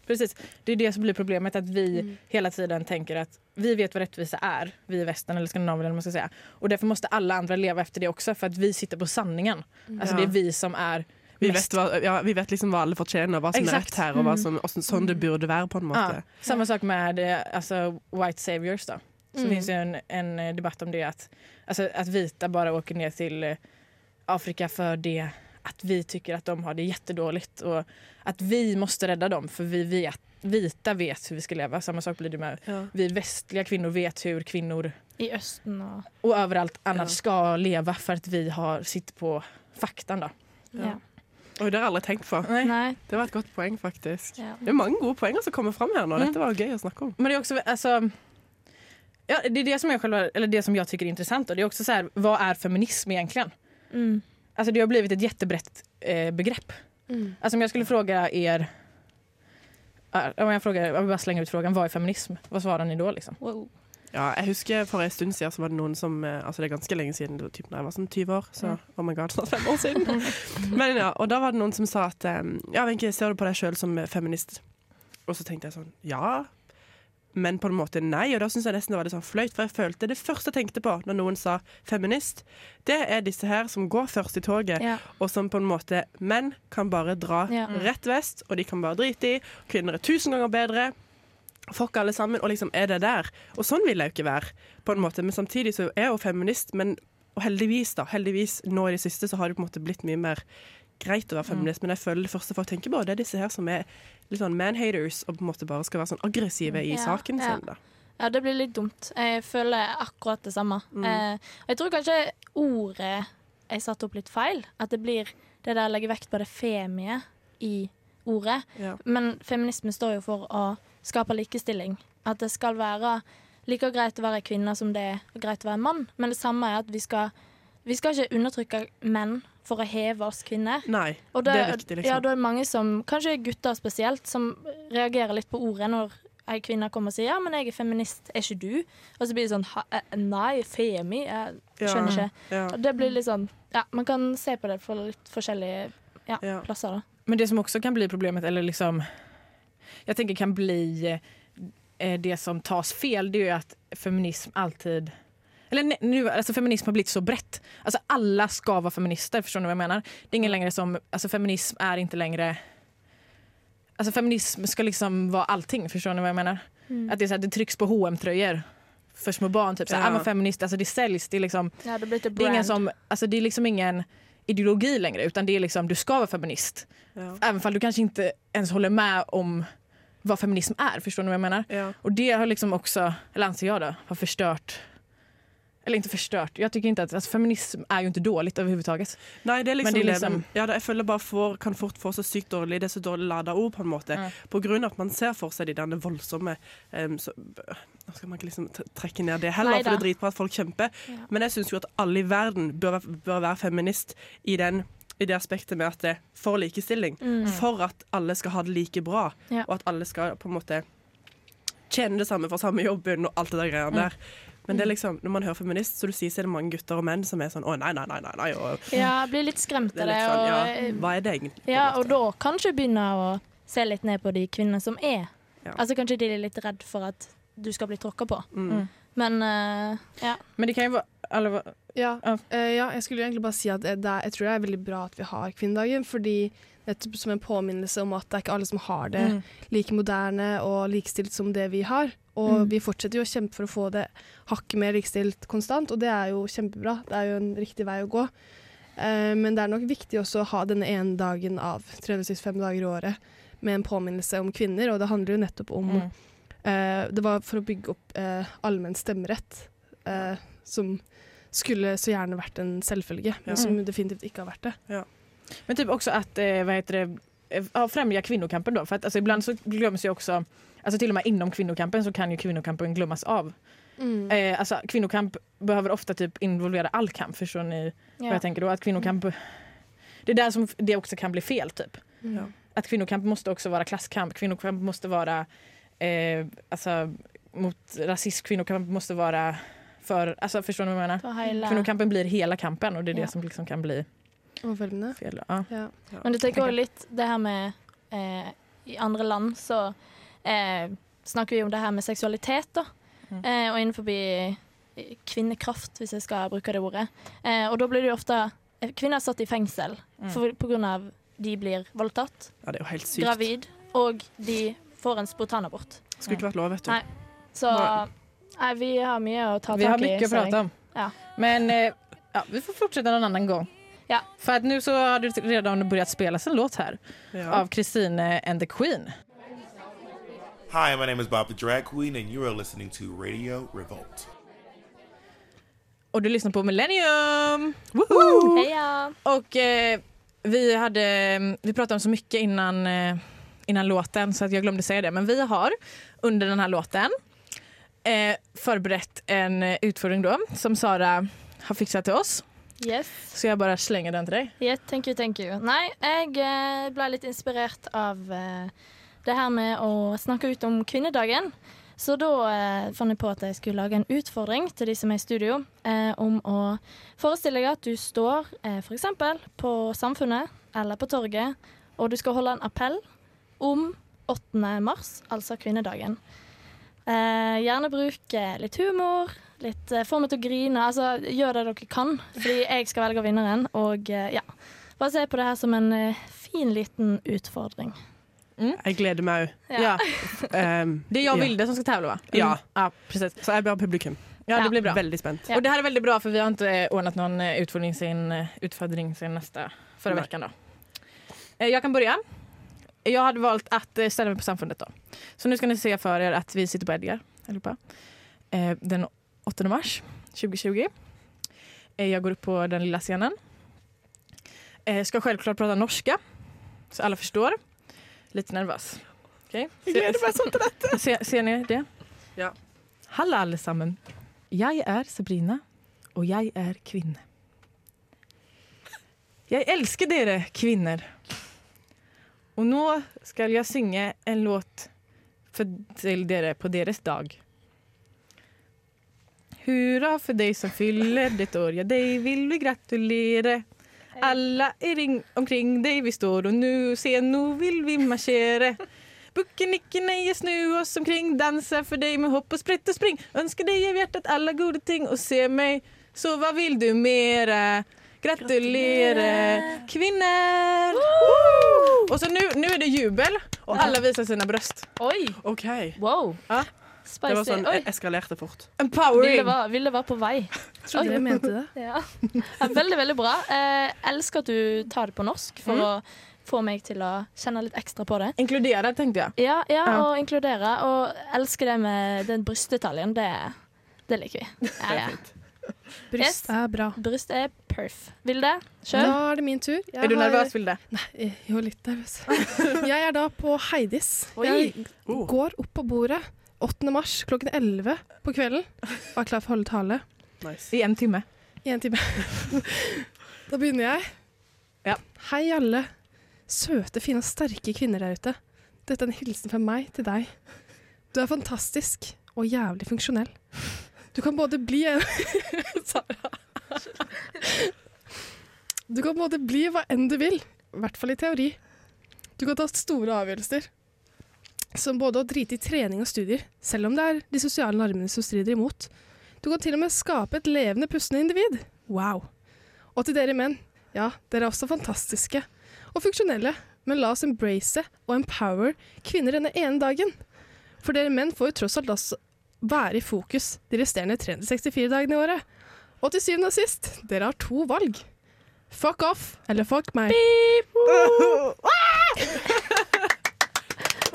Speaker 1: Precis. Det är det som blir problemet, att vi hela tiden tänker att vi vet vad rättvisa är, vi i västern eller Skandinavien eller vad man ska säga. Och därför måste alla andra leva efter det också för att vi sitter på sanningen.
Speaker 5: Mm.
Speaker 1: Alltså
Speaker 2: Ja.
Speaker 1: det är vi som är
Speaker 2: Vi
Speaker 1: mest
Speaker 2: vet, hva, ja, vi vet liksom hva alle fortjener, hva som
Speaker 1: Exakt.
Speaker 2: er rett her, og hva som, og sånn- sånn det burde være, på en måte.
Speaker 1: Ja, samma sak med eh, alltså, white saviors. Då. Så
Speaker 5: Mm.
Speaker 1: finns ju en, en eh, debatt om det att, alltså, att vita bara åker ner till eh, Afrika för det att vi tycker att de har det jättedåligt och att vi måste rädda dem för vi vet, vita vet hur vi ska leva. Samma sak blir det med
Speaker 2: Ja.
Speaker 1: vi västliga kvinnor vet hur kvinnor
Speaker 3: I Østen og
Speaker 1: och överallt annars
Speaker 2: Ja.
Speaker 1: ska leva för att vi har, sitter på faktan. Då.
Speaker 3: Ja.
Speaker 2: Oi, det har jeg aldri tenkt på.
Speaker 1: Nej.
Speaker 3: Nei.
Speaker 2: Det var et godt poeng, faktisk.
Speaker 3: Ja.
Speaker 2: Det er mange gode poenger som kommer fram her nå. Dette var gøy å snakke om.
Speaker 1: Men det är också, alltså, ja, det är det som jag, själva, eller det som jag tycker är intressant. Och det är också så här, vad är feminism egentligen?
Speaker 3: Mm.
Speaker 1: Alltså det har blivit ett jättebrett eh, begrepp.
Speaker 5: Mm.
Speaker 1: Alltså om jag skulle fråga er, ja, om jag, frågar, om jag bara slänger ut frågan, vad är feminism? Vad svarar ni då liksom?
Speaker 3: Wow.
Speaker 2: Ja, jeg husker For en stund siden så var det noen som eh, Altså det er ganske lenge siden, det var typ da jeg var sånn 20 år. Så oh my god, snart fem år siden. Men ja, Og da var det noen som sa at eh, Ja, Wenche, ser du på deg sjøl som eh, feminist? Og så tenkte jeg sånn Ja. Men på en måte nei, og da syns jeg nesten det var litt sånn fløyt. For jeg følte det første jeg tenkte på når noen sa feminist, det er disse her som går først i toget,
Speaker 3: Ja.
Speaker 2: og som på en måte Menn kan bare dra
Speaker 3: Ja.
Speaker 2: rett vest, og de kan bare drite i. Kvinner er tusen ganger bedre. Fuck alle sammen, og liksom er det der. Og sånn vil jeg jo ikke være, på en måte. Men samtidig så er jeg jo feminist, men og heldigvis, da. Heldigvis, nå i det siste så har det på en måte blitt mye mer greit
Speaker 3: Mm.
Speaker 2: å være feminist, men jeg føler det første folk tenker på, det er disse her som er litt sånn man-haters, og på en måte bare skal være sånn aggressive i
Speaker 3: Mm. Ja,
Speaker 2: saken
Speaker 3: ja.
Speaker 2: sin, da.
Speaker 3: Ja, det blir litt dumt. Jeg føler akkurat det samme. Eh, og jeg tror kanskje ordet jeg satte opp litt feil. At det blir det der å legge vekt på det femie i ordet.
Speaker 2: Ja.
Speaker 3: Men feminisme står jo for å skape likestilling. At det skal være like greit å være kvinne som det er greit å være mann. Men det samme er at vi skal, vi skal ikke undertrykke menn for å heve oss kvinner.
Speaker 2: Nei,
Speaker 3: Og da,
Speaker 2: det er viktig,
Speaker 3: Ja,
Speaker 2: liksom.
Speaker 3: da er det mange som, kanskje gutter spesielt, som reagerer litt på ordet når ei kvinne kommer og sier 'ja, men jeg er feminist, er ikke du?' Og så blir det sånn ha, eh, 'nei, femi', jeg skjønner ikke.
Speaker 2: Ja,
Speaker 3: Og det blir litt sånn Ja, man kan se på det fra litt forskjellige ja,
Speaker 2: Ja.
Speaker 3: plasser, da.
Speaker 1: Men det som också kan bli problemet, eller liksom, jag tänker kan bli eh, det som tas fel, det är ju att feminism alltid eller ne- nu, alltså feminism har blivit så brett. Alltså alla ska vara feminister, förstår ni vad jag menar? Det är ingen längre som, alltså feminism är inte längre... Alltså feminism ska liksom vara allting, förstår ni vad jag menar?
Speaker 3: Mm.
Speaker 1: Att det, är så här, det trycks på hm tröjor för små barn, typ såhär,
Speaker 2: Ja.
Speaker 1: ja. man feminist, alltså det säljs, det är liksom...
Speaker 3: Ja, det blir
Speaker 1: Det är, ingen som, alltså det är liksom ingen ideologi längre utan det är liksom du ska vara feminist.
Speaker 2: Ja.
Speaker 1: Även fall du kanske inte ens håller med om vad feminism är, förstår ni vad jag menar?
Speaker 2: ja.
Speaker 1: Och det har liksom också, eller anser jag då, har förstört eller inte förstört. Jag tycker inte att alltså feminism är ju inte dåligt överhuvudtaget.
Speaker 2: Nei, det er liksom,
Speaker 1: Men det er
Speaker 2: det
Speaker 1: liksom-
Speaker 2: ja, det, jeg føler bare får, kan fort få så sykt dårlig Det er så dårlig lada ord, på en måte.
Speaker 1: Mm.
Speaker 2: På grunn av at man ser for seg de der voldsomme em, så, Nå skal man ikke liksom t- trekke ned det heller,
Speaker 3: Neida.
Speaker 2: for det er dritbra at folk kjemper. Men jeg syns jo at alle i verden bør, væ- bør være feminist i, den, i det aspektet med at det er for likestilling. For at alle skal ha det like bra,
Speaker 3: Ja.
Speaker 2: og at alle skal på en måte tjene det samme for samme jobben og alt det der greiene der. Men det er liksom, når man hører feminist, så du sier så er det mange gutter og menn som er sånn å nei, nei, nei, nei, nei og
Speaker 3: Ja, jeg blir litt skremt
Speaker 2: sånn- det
Speaker 3: av
Speaker 2: er
Speaker 3: det.
Speaker 2: litt sånn, ja,
Speaker 3: Og, eh,
Speaker 2: hva er det egentlig? på en
Speaker 3: ja, og
Speaker 2: måte?
Speaker 3: da kanskje begynne å se litt ned på de kvinnene som er.
Speaker 2: Ja.
Speaker 3: Altså Kanskje de er litt redd for at du skal bli tråkka på.
Speaker 2: Mm.
Speaker 3: Men eh, ja.
Speaker 1: Men det kan ju vara... Eller, vad-
Speaker 5: Ja,
Speaker 1: Ja.
Speaker 5: eh, ja, jeg skulle egentlig bare si at eh, det er, jeg tror det er veldig bra at vi har kvinnedagen, fordi nettopp som en påminnelse om at det er ikke alle som har det like moderne og likestilt som det vi har. Og
Speaker 3: Mm.
Speaker 5: vi fortsetter jo å kjempe for å få det hakket mer likestilt konstant, og det er jo kjempebra. Det er jo en riktig vei å gå. Eh, men det er nok viktig også å ha denne ene dagen av 365 dager i året med en påminnelse om kvinner, og det handler jo nettopp om
Speaker 7: Mm.
Speaker 5: Eh, det var for å bygge opp eh, allmenn stemmerett, eh, som skulle så gjerne vært en selvfølge,
Speaker 2: Ja.
Speaker 5: men som definitivt ikke har vært det.
Speaker 1: Men typ också att eh, vad heter det, eh, ja, främja kvinnokampen då. För att alltså, ibland så glöms ju också, alltså till och med inom kvinnokampen så kan ju kvinnokampen glömmas av.
Speaker 5: Mm.
Speaker 1: Eh, alltså, kvinnokamp behöver ofta typ involvera all kamp, förstår ni vad
Speaker 3: Ja. Mm.
Speaker 1: jag tänker då? Att kvinnokamp, det är där som det också kan bli fel typ.
Speaker 5: Mm.
Speaker 1: Att kvinnokamp måste också vara klasskamp, kvinnokamp måste vara eh, alltså, mot rasism, kvinnokamp måste vara för, alltså förstår ni vad jag menar?
Speaker 3: For hele.
Speaker 1: Kvinnokampen blir hela kampen och det är det
Speaker 3: Ja.
Speaker 1: som liksom kan bli
Speaker 5: Overveldende.
Speaker 1: fel. då. Ja.
Speaker 5: Ja.
Speaker 3: Men du tenker
Speaker 1: Tenker.
Speaker 3: også litt det her med eh, I andre land så eh, snakker vi om det her med seksualitet, da.
Speaker 1: Mm.
Speaker 3: Eh, og innenfor eh, kvinnekraft, hvis jeg skal bruke det ordet. Eh, og da blir det jo ofte eh, Kvinner er satt i fengsel
Speaker 1: Mm.
Speaker 3: for, på grunn av de blir voldtatt,
Speaker 2: Ja, det er jo helt sykt.
Speaker 3: gravid, og de får en spontanabort.
Speaker 2: Skulle ikke vært lov, vet du.
Speaker 3: Nei. Så
Speaker 2: Nei.
Speaker 3: nei, vi har mye å ta
Speaker 1: Vi har
Speaker 3: tak i.
Speaker 1: mycket att
Speaker 3: ser jeg.
Speaker 1: prata om.
Speaker 3: Ja.
Speaker 1: Men eh, ja, vi får fortsätta någon annan gång.
Speaker 3: Ja.
Speaker 1: För att nu så har det redan börjat spelas en låt här
Speaker 2: Ja.
Speaker 1: av Christine and the Queen.
Speaker 8: Hi, my name is Bob the Drag Queen, and you are listening to Radio Revolt.
Speaker 1: Och du lyssnar på Millennium!
Speaker 3: Heia!
Speaker 1: Och eh, vi, hade, vi pratade om så mycket innan, eh, innan låten så att jag glömde säga det. Men vi har under den här låten eh, förberett en eh, utfodring då som Sara har fixat till oss.
Speaker 3: Yes.
Speaker 1: Så jeg bare slenger den til deg.
Speaker 3: Yeah, thank you, thank you. Nei, jeg eh, ble litt inspirert av eh, det her med å snakke ut om kvinnedagen. Så da eh, fant jeg på at jeg skulle lage en utfordring til de som er i studio, eh, om å forestille deg at du står eh, f.eks. på Samfunnet eller på torget, og du skal holde en appell om 8. mars, altså kvinnedagen. Eh, gjerne bruk eh, litt humor, litt eh, få meg til å grine. Altså, gjør det dere kan, fordi jeg skal velge vinneren. Og eh, ja, bare se på det her som en eh, fin liten utfordring.
Speaker 2: Jeg gleder meg òg.
Speaker 3: [laughs]
Speaker 1: Ja.
Speaker 3: Ja.
Speaker 2: Um,
Speaker 1: Det er jeg og
Speaker 2: ja.
Speaker 1: Vilde som skal tävla va? Mm.
Speaker 2: Ja.
Speaker 1: ja precis.
Speaker 2: Så jeg blir publikum.
Speaker 1: Ja, det blir bra.
Speaker 2: Veldig spent.
Speaker 3: Ja.
Speaker 1: Och det här är väldigt bra för vi har inte ordnat någon eh, utfodring sin, eh, utfodring sin nästa förra
Speaker 2: Nej.
Speaker 1: veckan. Då. Eh, Jag kan börja. Jag hade valt att eh, ställa mig på samfundet. Då. Så nu ska ni se för er att vi sitter på Edgar allihopa. Eh, Den 8 mars 2020. Eh, Jag går upp på den lilla scenen. Eh, Ska självklart prata norska så alla förstår. Lite nervös. Okej. Ser- Se, ser ni det?
Speaker 2: Ja.
Speaker 1: Halla alle sammen. Jeg er Sabrina, og jeg er kvinne. Jeg elsker dere, kvinner. Og nå skal jeg synge en låt for, til dere på deres dag. Hurra for deg som fyller ditt år, ja, deg vil vi gratulere. Alla i ring omkring deg vi står, og nu, se, nå vil vi marsjere. Bukken, nikke, neie, snu oss omkring, danse for deg med hopp og sprett og spring. Ønsker deg av hjertet alle gode ting, og se meg, så hva vil du mere? Gratulere, kvinner! Woo! Og så nå nå er det jubel, og alle viser sine bryst.
Speaker 3: Oi!
Speaker 2: OK. Det
Speaker 3: Wow!
Speaker 1: Ja.
Speaker 3: Spicy.
Speaker 2: var sånn
Speaker 3: Oi!
Speaker 2: jeg eskalerte fort.
Speaker 1: Empowering!
Speaker 3: Ville var, Vilde var på vei.
Speaker 5: Tror
Speaker 3: Oi.
Speaker 5: dere mente det?
Speaker 3: Ja. Veldig, veldig bra. Eh, elsker at du tar det på norsk for å få meg til å kjenne litt ekstra på det.
Speaker 1: Inkludere, tenkte jeg.
Speaker 3: Ja, ja,
Speaker 1: Ja.
Speaker 3: og inkludere. Og elsker det med den brystdetaljen. Det, det liker vi. Ja, ja. Yes.
Speaker 5: Bryst er bra.
Speaker 3: Bryst er perf. Vilde,
Speaker 5: Da
Speaker 3: kjør.
Speaker 5: er det min tur. Jeg
Speaker 1: Er du
Speaker 5: har-
Speaker 1: nervøs, Vilde?
Speaker 5: Nei, jo, litt nervøs. [laughs] Jeg er da på Heidis.
Speaker 3: Oi.
Speaker 5: Jeg
Speaker 2: Oh.
Speaker 5: går opp på bordet 8. mars klokken 11 på kvelden og er klar for å holde tale
Speaker 2: Nice.
Speaker 1: I en time.
Speaker 5: i en time. Da begynner jeg.
Speaker 1: Ja.
Speaker 5: Hei, alle søte, fine og sterke kvinner der ute. Dette er en hilsen fra meg til deg. Du er fantastisk og jævlig funksjonell. Du kan både bli en [laughs] Sara. Du kan både bli hva enn du vil, i hvert fall i teori. Du kan ta store avgjørelser, som både å drite i trening og studier, selv om det er de sosiale normene som strider imot. Du kan til og med skape et levende, pustende individ. Wow. Og til dere menn, ja, dere er også fantastiske og funksjonelle, men la oss embrace og empower kvinner denne ene dagen. For dere menn får jo tross alt også, være i fokus de resterende 364 dagene i året. Og til syvende og sist, dere har to valg. Fuck off eller fuck meg.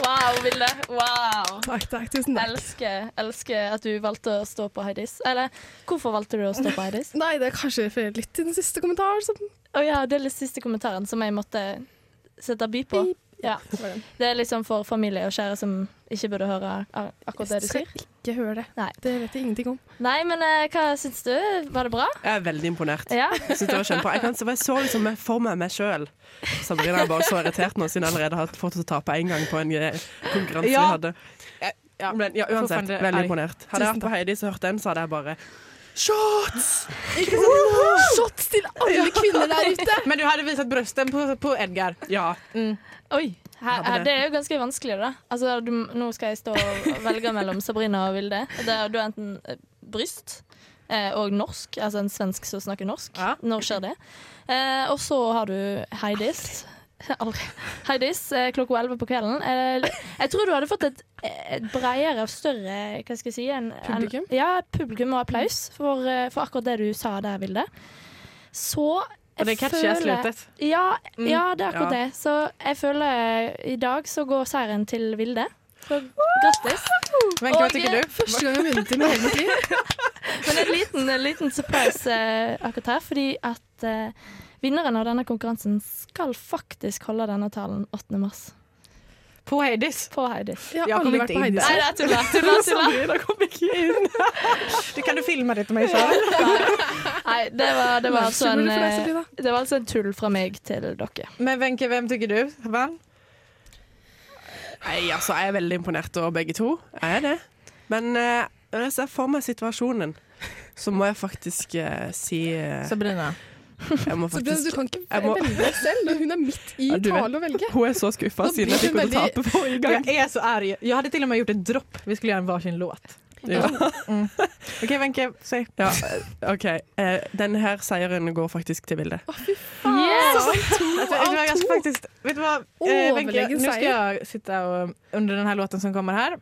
Speaker 3: Wow, Vilde. Wow.
Speaker 5: Takk, takk, tusen takk.
Speaker 3: Elsker, elsker at du valgte å stå på Heidis. Eller hvorfor valgte du å stå på Heidis?
Speaker 5: Nei, det er kanskje referert litt til den siste kommentaren. Som
Speaker 3: [laughs] Å ja, det er den siste kommentaren som jeg måtte sette by på. Ja. Det er liksom for familie og kjære som ikke burde høre ak- akkurat det du sier.
Speaker 5: Skal ikke høre det.
Speaker 3: Nei.
Speaker 5: Det vet jeg ingenting om.
Speaker 3: Nei, men eh, hva syns du? Var det bra?
Speaker 2: Jeg er veldig imponert.
Speaker 3: Ja?
Speaker 2: Jeg synes det var kjempebra. Jeg, kan, jeg så liksom for meg meg sjøl. Sabrina er bare så irritert nå, siden jeg allerede har fått å tape én gang på en eh, konkurranse vi
Speaker 1: Ja.
Speaker 2: hadde.
Speaker 1: Ja.
Speaker 2: Men ja, uansett,
Speaker 1: Forferdelig
Speaker 2: veldig
Speaker 1: arg.
Speaker 2: imponert. Hadde jeg vært på Heidi og hørt den, så hadde jeg bare
Speaker 5: Shots til alle kvinner der ute!
Speaker 1: [laughs] Men du hadde visat brösten på, på Edgar. Mm.
Speaker 2: Ja.
Speaker 3: Oi. Her,
Speaker 2: Ja, men
Speaker 3: her,
Speaker 2: det-
Speaker 3: det er jo ganske vanskelig, da. Altså, du, nå skal jeg stå og velge mellom Sabrina og Vilde. Det er, du er enten eh, bryst eh, og norsk, altså en svensk som snakker norsk.
Speaker 1: Ja.
Speaker 3: Når skjer det? Eh, og så har du Heidis. [laughs] Aldri. Heidis eh, klokka 11 på kvelden. Eh, jeg tror du hadde fått et, et bredere og større hva skal jeg si, en,
Speaker 5: Publikum?
Speaker 3: En, ja, publikum og applaus for, eh, for akkurat det du sa der, Vilde. Så
Speaker 1: Och det
Speaker 3: jeg
Speaker 1: catchiga
Speaker 3: føler-
Speaker 1: slutet.
Speaker 3: ja, Mm. ja, det er akkurat
Speaker 2: Ja.
Speaker 3: det. Så jeg føler eh, i dag så går seieren til Vilde. Så grattis.
Speaker 1: Wenche, vad
Speaker 3: Och,
Speaker 1: tycker
Speaker 3: eh,
Speaker 1: du?
Speaker 5: Første gang jeg vunnet i mitt hele liv.
Speaker 3: Men en liten, en liten surprise eh, akkurat her, fordi at eh, vinneren av denne konkurransen skal faktisk holde denne talen 8. mars
Speaker 1: På Heidis.
Speaker 3: på Heidis.
Speaker 5: Jeg
Speaker 1: Jeg
Speaker 5: har
Speaker 1: kommer
Speaker 5: aldri vært
Speaker 1: ikke
Speaker 5: på
Speaker 1: inn
Speaker 5: Heidis.
Speaker 3: Nei, det er tulla. tulla, tulla.
Speaker 1: Sabrina kom ikke inn. [laughs] Du kan du filma det til meg sjøl?
Speaker 3: Nei, det var, det, var altså en,
Speaker 5: Unnskyld for deg,
Speaker 3: eh,
Speaker 5: Sabrina.
Speaker 3: det var altså en tull fra meg til dere.
Speaker 1: Men Wenche, hvem tycker du vann?
Speaker 2: Nei, altså, jeg er veldig imponert over begge to. Jeg er det. Men eh, når jeg ser for meg situasjonen, så må jeg faktisk eh, si eh,
Speaker 1: Sabrina.
Speaker 2: Jeg må
Speaker 5: Så Bjørn, du
Speaker 2: faktisk
Speaker 5: kan ikke
Speaker 2: Jeg må-
Speaker 5: velge selv når hun er midt i
Speaker 2: Ja, du vet.
Speaker 5: tale å velge.
Speaker 2: Hun er så skuffa
Speaker 5: Da
Speaker 2: siden jeg
Speaker 5: blir
Speaker 2: fikk
Speaker 5: hun
Speaker 2: henne til å
Speaker 5: veldig-
Speaker 2: tape forrige gang.
Speaker 1: Jag är så arg. Jag hade till och med gjort ett dropp. Vi skulle göra en varsin låt.
Speaker 2: Ja.
Speaker 1: Okej Wenche, säg.
Speaker 2: Ja, eh, OK. Eh, denne her seieren går faktisk til Vilde.
Speaker 3: Yes!
Speaker 5: sånn
Speaker 1: Vet du, vet du vad, jag ska faktiskt, vet du vad, eh, Wenche, nu
Speaker 5: Överlägsen
Speaker 1: ska
Speaker 5: seier.
Speaker 1: jag sitta och, under den här låten som kommer här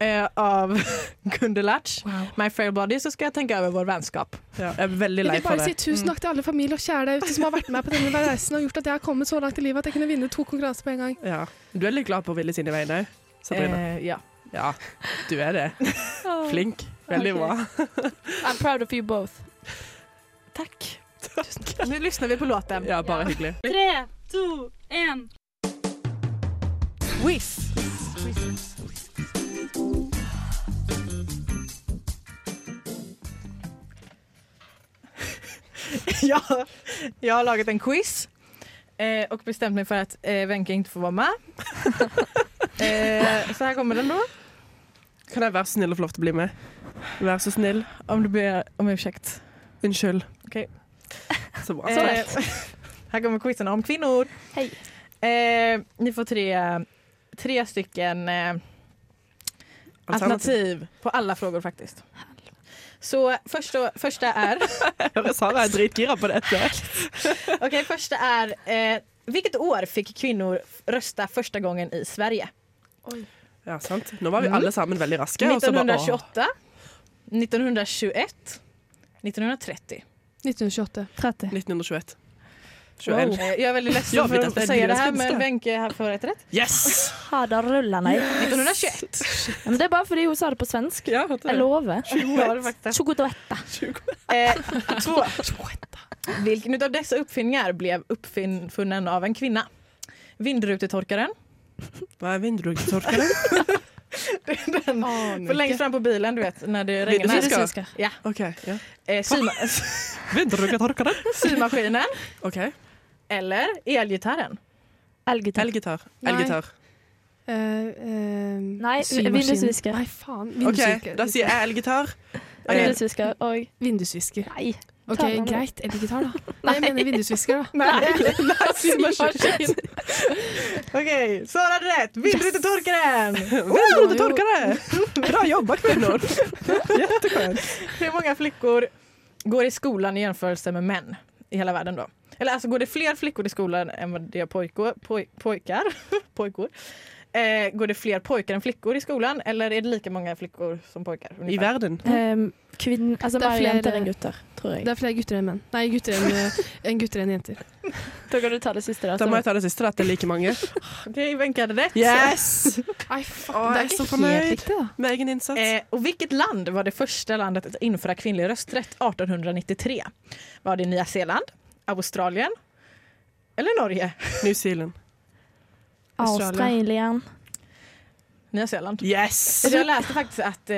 Speaker 1: eh, av [laughs] Gunde Latch, My Fair Body, så ska jag tänka över vår vänskap.
Speaker 2: Ja, jeg er veldig
Speaker 5: Jeg
Speaker 2: lei
Speaker 5: vil
Speaker 2: for
Speaker 5: bare si
Speaker 2: det.
Speaker 5: tusen takk til alle familie og kjære der ute som har vært med på denne reisen og gjort at jeg har kommet så langt i livet at jeg kunne vinne to konkurranser på en gang.
Speaker 2: Mm. Ja. Du er litt glad på Vilde sine vegne, Sabrina.
Speaker 1: Eh, ja.
Speaker 2: Ja, du er det. Flink. Veldig
Speaker 3: Ok.
Speaker 2: bra.
Speaker 3: I'm proud of you both.
Speaker 1: Tack. Nu lyssnar vi på låten.
Speaker 2: Ja, bare hyggelig.
Speaker 7: Tre, to, én.
Speaker 1: Whiz. [laughs] ja, jag har lagat en quiz eh, och bestämt mig för att eh, Wenche inte får vara med. [laughs] eh, så här kommer den då.
Speaker 2: Kan jeg være så snill og få lov til å bli med? Vær så snill.
Speaker 1: Om du ber om ursäkt.
Speaker 2: Unnskyld.
Speaker 1: Okej.
Speaker 2: [laughs] Så bra.
Speaker 1: Eh, [laughs] här kommer quizen om kvinnor.
Speaker 3: Hej.
Speaker 1: Eh, ni får tre, tre stycken eh,
Speaker 2: [laughs] Alternativ.
Speaker 1: alternativ på alla frågor faktiskt. Så första, första är [laughs]
Speaker 2: Høres Sara er dritgira på dette.
Speaker 1: Okej, första är... Eh, vilket år fick kvinnor rösta första gången i Sverige?
Speaker 2: Ja, sant. Nå var vi alle sammen veldig raske. og så bare, åh.
Speaker 1: 1928, 1921, 1930.
Speaker 3: [laughs]
Speaker 5: 1928.
Speaker 3: 30.
Speaker 2: 1921.
Speaker 1: Wow.
Speaker 2: 21.
Speaker 1: Eh, Jag är väldigt ledsen
Speaker 2: Ja, vet
Speaker 1: för
Speaker 2: att det är
Speaker 1: att säga det
Speaker 2: deras
Speaker 1: här, men
Speaker 2: svenska.
Speaker 1: Wenche har förrätt rätt.
Speaker 2: Yes!
Speaker 3: Ha det rullende. [laughs]
Speaker 1: 1921.
Speaker 3: Ja, men det er bare fordi hun sa det på svensk.
Speaker 2: [laughs] Ja, vet du.
Speaker 3: Jeg lover.
Speaker 1: Ja, det är faktiskt rätt.
Speaker 3: Chokodoetta.
Speaker 1: Eh, två. Vilken av dessa uppfinningar blev uppfunnen av en kvinna? Vindrutetorkaren.
Speaker 2: Hva er vindrugetorkere?
Speaker 1: Den, på längst fram på bilen, du vet, när det regnar.
Speaker 2: Vindrutetorkare.
Speaker 3: Syska.
Speaker 1: Ja,
Speaker 2: OK. Ja.
Speaker 1: eh, syma,
Speaker 2: Vindrugetorkere.
Speaker 1: symaskinen
Speaker 2: OK.
Speaker 1: eller elgitarren.
Speaker 3: Elgitar.
Speaker 2: Elgitar.
Speaker 5: Nei.
Speaker 2: Elgitar.
Speaker 5: Eh, eh,
Speaker 3: Nei,
Speaker 5: symaskin.
Speaker 3: vindusvisker.
Speaker 5: Nei, faen.
Speaker 2: OK,
Speaker 5: Vindusvisker.
Speaker 2: da sier jeg elgitar. Eh,
Speaker 3: Vindusvisker og
Speaker 5: Vindusvisker.
Speaker 3: Nei.
Speaker 5: OK,
Speaker 3: Ta den.
Speaker 5: greit. Elgitar, da. Nei, jeg mener vindusvisker, da.
Speaker 3: [laughs]
Speaker 1: Symaskin. Okej, Sara hade rätt. [laughs] Vindrutetorkaren!
Speaker 2: Vindrugetorkere! Bra jobba,
Speaker 1: [laughs]
Speaker 2: kvinner!
Speaker 1: Hur många flickor går i skolan i jämförelse med män i hela världen då? Eller alltså går det fler flickor i skolan än vad det är [laughs] pojkor, poj, pojkar, pojkor Eh, går det fler pojkar än flickor i skolan eller er det lika många flickor som pojkar?
Speaker 2: I
Speaker 1: ungefär?
Speaker 2: verden.
Speaker 3: Eh,
Speaker 9: Ehm, kvinn, altså
Speaker 5: Det er
Speaker 9: bare
Speaker 5: flere-
Speaker 9: jenter enn gutter, tror
Speaker 5: Det
Speaker 9: jeg.
Speaker 5: er flere gutter enn menn. Nei, gutter enn, eh, enn gutter enn jenter.
Speaker 9: Da kan du ta det siste. Da,
Speaker 2: Da må jeg
Speaker 9: så.
Speaker 2: ta det siste, da, at det er like mange.
Speaker 1: Okej, vinkade rätt.
Speaker 2: Yes!
Speaker 5: Nei, fuck,
Speaker 2: Å,
Speaker 5: det
Speaker 2: jeg
Speaker 5: er
Speaker 2: er
Speaker 5: ikke
Speaker 2: så
Speaker 5: helt
Speaker 2: fornøyd.
Speaker 5: riktig, da.
Speaker 2: Med egen innsats.
Speaker 1: Eh, och vilket land var det första landet att införa kvinnlig rösträtt 1893? Var det Nya Zeeland, Australien eller Norge?
Speaker 2: New Zealand.
Speaker 5: Australia.
Speaker 3: Australian.
Speaker 1: Nya Zeeland.
Speaker 2: Yes!
Speaker 1: Så jag läste faktiskt att eh,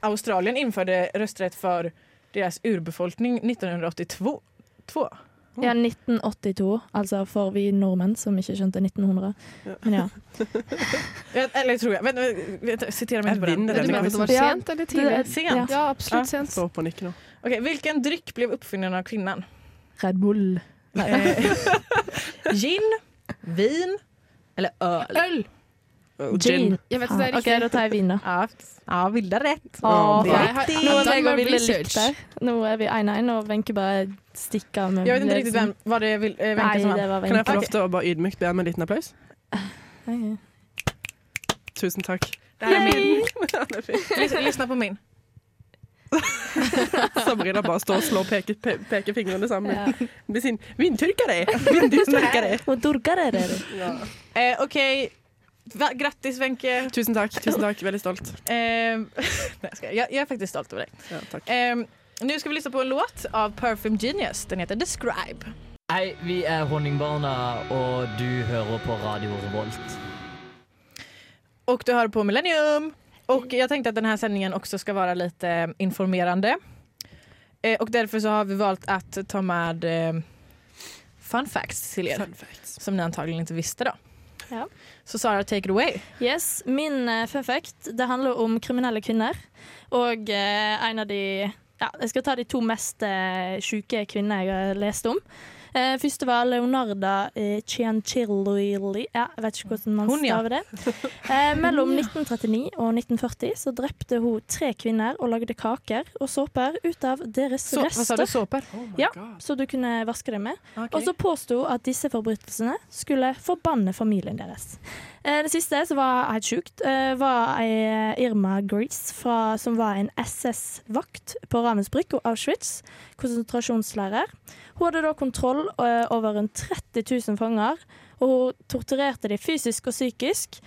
Speaker 1: Australien införde rösträtt för deras urbefolkning 1982. Två.
Speaker 3: Ja, 1982. Altså for vi nordmenn som ikke skjønte 1900. Men ja.
Speaker 1: Jag, Eh, eller tror jeg. Vänta, vänta, citera mig
Speaker 2: Jeg
Speaker 1: inte på den.
Speaker 2: vinner
Speaker 1: Vet du
Speaker 2: denne
Speaker 1: vad?
Speaker 5: Men det liksom-
Speaker 2: quizen.
Speaker 5: var sent eller tidlig?
Speaker 1: Sent.
Speaker 5: Ja, absolutt sent.
Speaker 2: Står på nikken nå.
Speaker 1: Okej, vilken dryck blev uppfinnaren av kvinnan?
Speaker 3: Red Bull.
Speaker 1: Eh, [laughs] Gin, vin eller öl?
Speaker 5: Øl!
Speaker 2: Og
Speaker 3: Gin.
Speaker 2: Gin.
Speaker 5: Jeg vet at det er
Speaker 3: OK,
Speaker 5: riktig.
Speaker 3: da tar jeg vin, da.
Speaker 1: Ja, ja vilda rätt.
Speaker 3: Å,
Speaker 2: Ja,
Speaker 5: har-
Speaker 3: faktisk.
Speaker 5: Nå
Speaker 3: Nå
Speaker 5: har
Speaker 3: er
Speaker 5: jeg
Speaker 3: vi
Speaker 5: bare
Speaker 3: veldig
Speaker 5: research.
Speaker 3: likt der. Nå er vi 1-1, og Wenche bare stikker av med
Speaker 1: Jag vet inte riktigt vem, var det vil- eh, Wenche
Speaker 3: sånn- Nei,
Speaker 1: som vann.
Speaker 3: det var
Speaker 2: Kan
Speaker 3: Wenche.
Speaker 2: jeg få lov til å bare ydmykt be om en liten applaus?
Speaker 3: Ok.
Speaker 2: Tusen takk.
Speaker 1: [laughs] Det här är min. Lyssna- Lyssna på min.
Speaker 2: Sabrina bare står og slår peke, pe pekefingrene sammen.
Speaker 1: [laughs]
Speaker 3: Ja.
Speaker 2: Med sin vindtyrkere! Vindustyrkere!
Speaker 3: Og durgare er det.
Speaker 1: Eh, Okej, Va- grattis Wenche.
Speaker 2: Tusen takk. tusen takk, Veldig stolt.
Speaker 1: Eh, [laughs] nej, jag, skojar. jag, jag är faktiskt stolt över dig.
Speaker 2: Ja, takk.
Speaker 1: Eh, nu ska vi lyssna på en låt av Perfume Genius. Den heter Describe.
Speaker 10: Hei, vi er Honningbarna, og du hører på Radio Revolt.
Speaker 1: Och du hör på Millennium. Och jag tänkte att den här sändningen också ska vara lite informerande. Eh, och därför så har vi valt att ta med eh, fun facts till er. Som ni antagligen inte visste då.
Speaker 3: Ja.
Speaker 1: Så Sara, take it away.
Speaker 3: Yes, min eh, fun fact det handler om kriminelle kvinner. Og eh, en av de ja, Jeg skal ta de to mest eh, sjuke kvinnene jeg har lest om. Eh, første var Leonarda eh, Ciancilli ja, Jeg vet ikke hvordan man
Speaker 1: Hun, ja.
Speaker 3: staver det.
Speaker 1: [laughs]
Speaker 3: Eh, mellom 1939 og 1940 så drepte hun tre kvinner og lagde kaker og såper ut av deres
Speaker 1: Så, vad sa du,
Speaker 3: rester,
Speaker 1: såpor?
Speaker 3: Ja.
Speaker 2: Ah.
Speaker 3: så du kunne vaske dem med.
Speaker 1: Okej.
Speaker 3: Og så påsto hun at disse forbrytelsene skulle forbanne familien deres. Eh, Det siste, som var helt sjukt, eh, var ei eh, Irma Grease, fra, som var en SS-vakt på Ravensbrück og Auschwitz, konsentrasjonslærer. Hun hadde da kontroll eh, over rundt 30 000 fanger, og hun torturerte dem fysisk og psykisk.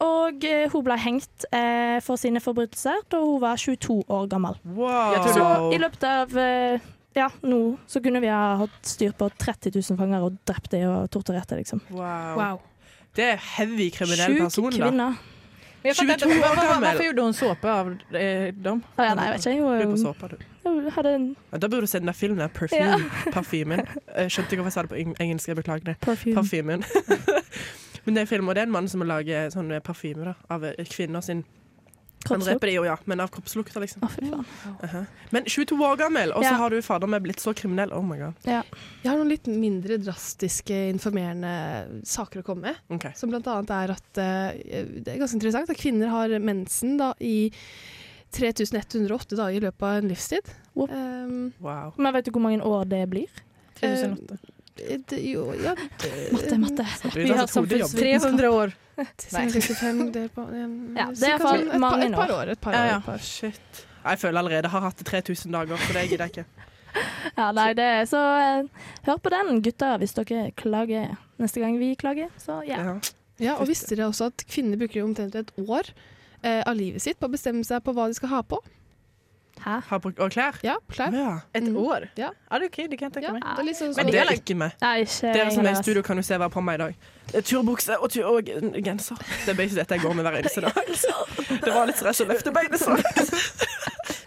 Speaker 3: Og eh, hun ble hengt eh, for sine forbrytelser da hun var 22 år gammel.
Speaker 1: Jeg tror
Speaker 3: Så
Speaker 2: Wow!
Speaker 3: i løpet av eh, ja, nå så kunne vi ha hatt styr på 30 000 fanger og drept dem og torturert dem, liksom.
Speaker 2: wow. Det er heavy kriminell
Speaker 3: Sjuk
Speaker 2: person, da.
Speaker 3: kvinne.
Speaker 1: Men jag fattar inte,
Speaker 2: 22 år
Speaker 1: var, var,
Speaker 2: gammal.
Speaker 1: varför gjorde hon såpa av eh, dem?
Speaker 3: Å ja, nei, jeg vet ikke.
Speaker 2: Du er på
Speaker 3: Hun,
Speaker 2: såpa, du.
Speaker 3: hun hadde en
Speaker 2: Ja, da burde du se den der filmen der, Perfume. Parfymen. Eh, Skjønte ikke hvorfor jeg sa det på eng- engelsk, jeg beklager det.
Speaker 3: parfyme.
Speaker 2: Parfymen. [laughs] Men det er en film, og det er en mann som lager sånn parfyme da, av eh, kvinner sin. Han
Speaker 3: Kroppslukt.
Speaker 2: dreper de jo, ja, men av kroppslukta, liksom.
Speaker 3: Å, fy faen.
Speaker 2: Men 22 år gammel, og så
Speaker 3: Ja.
Speaker 2: har du fader meg blitt så kriminell. Oh my god.
Speaker 5: Jeg har noen litt mindre drastiske, informerende saker å komme med.
Speaker 2: Ok.
Speaker 5: Som blant annet er at eh, det er ganske interessant at kvinner har mensen da, i 3108 dager i løpet av en livstid.
Speaker 3: Wow.
Speaker 5: Ehm,
Speaker 2: Wow.
Speaker 3: Men vet du hvor mange år det blir?
Speaker 5: eh, det, jo, ja,
Speaker 3: Matte, matte.
Speaker 2: Vi har samfunns...
Speaker 1: 300 år.
Speaker 5: 365 del på em,
Speaker 3: Ja, det er
Speaker 5: cirka
Speaker 3: i hvert fall
Speaker 5: sånn et, par,
Speaker 3: mange
Speaker 5: et par år. Et par
Speaker 1: Ja,
Speaker 5: år,
Speaker 1: ja.
Speaker 5: et par år.
Speaker 2: Shit. Jeg føler allerede jeg har hatt 3000 dager, så det gidder jeg ikke.
Speaker 3: Ja, nei, det er så eh, Hør på den, gutter, hvis dere klager neste gang vi klager. Så ja.
Speaker 2: Ja.
Speaker 5: Ja, og visste dere også at kvinner bruker omtrent et år eh, av livet sitt på å bestemme seg på hva de skal ha på?
Speaker 3: Hæ?
Speaker 2: Har brukt og klær.
Speaker 5: Ja, klær.
Speaker 2: Ja.
Speaker 1: Ett
Speaker 5: Mm.
Speaker 1: år?
Speaker 5: Ja.
Speaker 1: ja det är okej, det kan jag tänka
Speaker 5: Ja,
Speaker 1: mig.
Speaker 5: det er litt sånn
Speaker 2: Men
Speaker 5: som
Speaker 2: det er ikke meg.
Speaker 3: Nei, ikke
Speaker 2: Dere som
Speaker 3: ingen
Speaker 2: er
Speaker 3: av
Speaker 2: i
Speaker 3: oss.
Speaker 2: studio, kan jo se hva jeg har på meg i dag. Det er Turbukse og, tur og genser. altså. Det er basically dette jeg går med hver [laughs] eneste dag. Det var litt stress å løfte beinet sånn.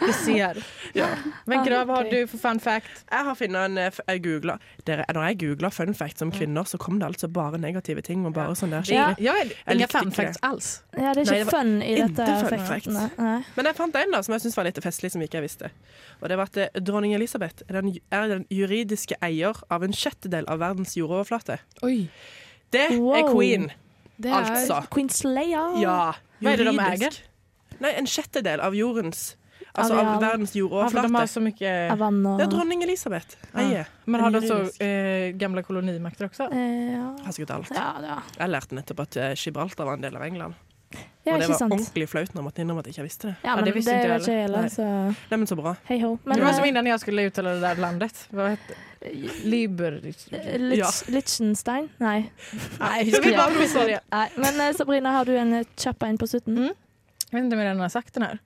Speaker 1: Vi ser.
Speaker 2: [laughs] Ja.
Speaker 1: Men Grav, har
Speaker 3: Okej.
Speaker 1: du for fun fact?
Speaker 2: Jeg har funnet en eh, f- jeg googlet- Dere, Når jeg googla fun facts om kvinner, så kom det altså bare negative ting. Og bare sånn der
Speaker 3: Ja.
Speaker 2: skikkelig.
Speaker 1: Jag är inga
Speaker 2: likte
Speaker 1: fun
Speaker 2: ikke
Speaker 1: facts alls.
Speaker 3: Ja, det er
Speaker 2: Nei,
Speaker 3: ikke
Speaker 2: det var
Speaker 3: fun i
Speaker 2: ikke
Speaker 3: dette.
Speaker 2: fun
Speaker 3: effekten.
Speaker 2: fact.
Speaker 3: Nei, nei.
Speaker 2: Men jeg fant en da, som jeg syntes var litt festlig, som ikke jeg visste. Og det var at eh, dronning Elisabeth er den, er den juridiske eier av en sjettedel av verdens jordoverflate.
Speaker 5: Oi,
Speaker 2: Det er
Speaker 3: Wow.
Speaker 2: queen,
Speaker 5: det er
Speaker 3: sånn.
Speaker 2: altså.
Speaker 3: Queen Slayer.
Speaker 2: Ja.
Speaker 1: Hva er det de
Speaker 2: juridisk.
Speaker 1: eier?
Speaker 2: Nei, en sjettedel av jordens Alltså
Speaker 3: Areal.
Speaker 2: av världens
Speaker 1: Ja, för de har
Speaker 2: jordoverflate.
Speaker 1: så mycket...
Speaker 3: Av vann og
Speaker 2: Det er dronning Elisabeth. Eier.
Speaker 1: Men har de
Speaker 2: Juridisk.
Speaker 1: så eh, gamla kolonimakter også?
Speaker 3: Eh, ja.
Speaker 2: Har sikkert alt.
Speaker 3: ja, ja.
Speaker 2: Jeg lærte nettopp at eh, Gibraltar var en del av England.
Speaker 3: ja
Speaker 2: og det
Speaker 3: ikke
Speaker 2: var
Speaker 3: sant.
Speaker 2: ordentlig flaut når jeg måtte innrømme at jeg ikke visste det.
Speaker 3: Ja, men
Speaker 1: det
Speaker 3: det,
Speaker 1: visste ikke jeg
Speaker 3: vet ikke jeg heller,
Speaker 1: heller.
Speaker 3: så
Speaker 2: Nei, men så bra.
Speaker 3: hei ho. Men
Speaker 1: det var som
Speaker 3: eh,
Speaker 1: innan jag skulle uttala det där landet. Vad hette Liber...
Speaker 3: Lich-
Speaker 2: Ja.
Speaker 3: Liechtenstein? eh, Nei. Nei,
Speaker 1: Jag
Speaker 3: jeg husker
Speaker 1: vill bara
Speaker 3: ikke.
Speaker 1: prova det.
Speaker 3: Nei. Men eh, Sabrina, har du en eh, kjapp en på slutten?
Speaker 1: Mm. Jag vet inte om jag redan har sagt den här.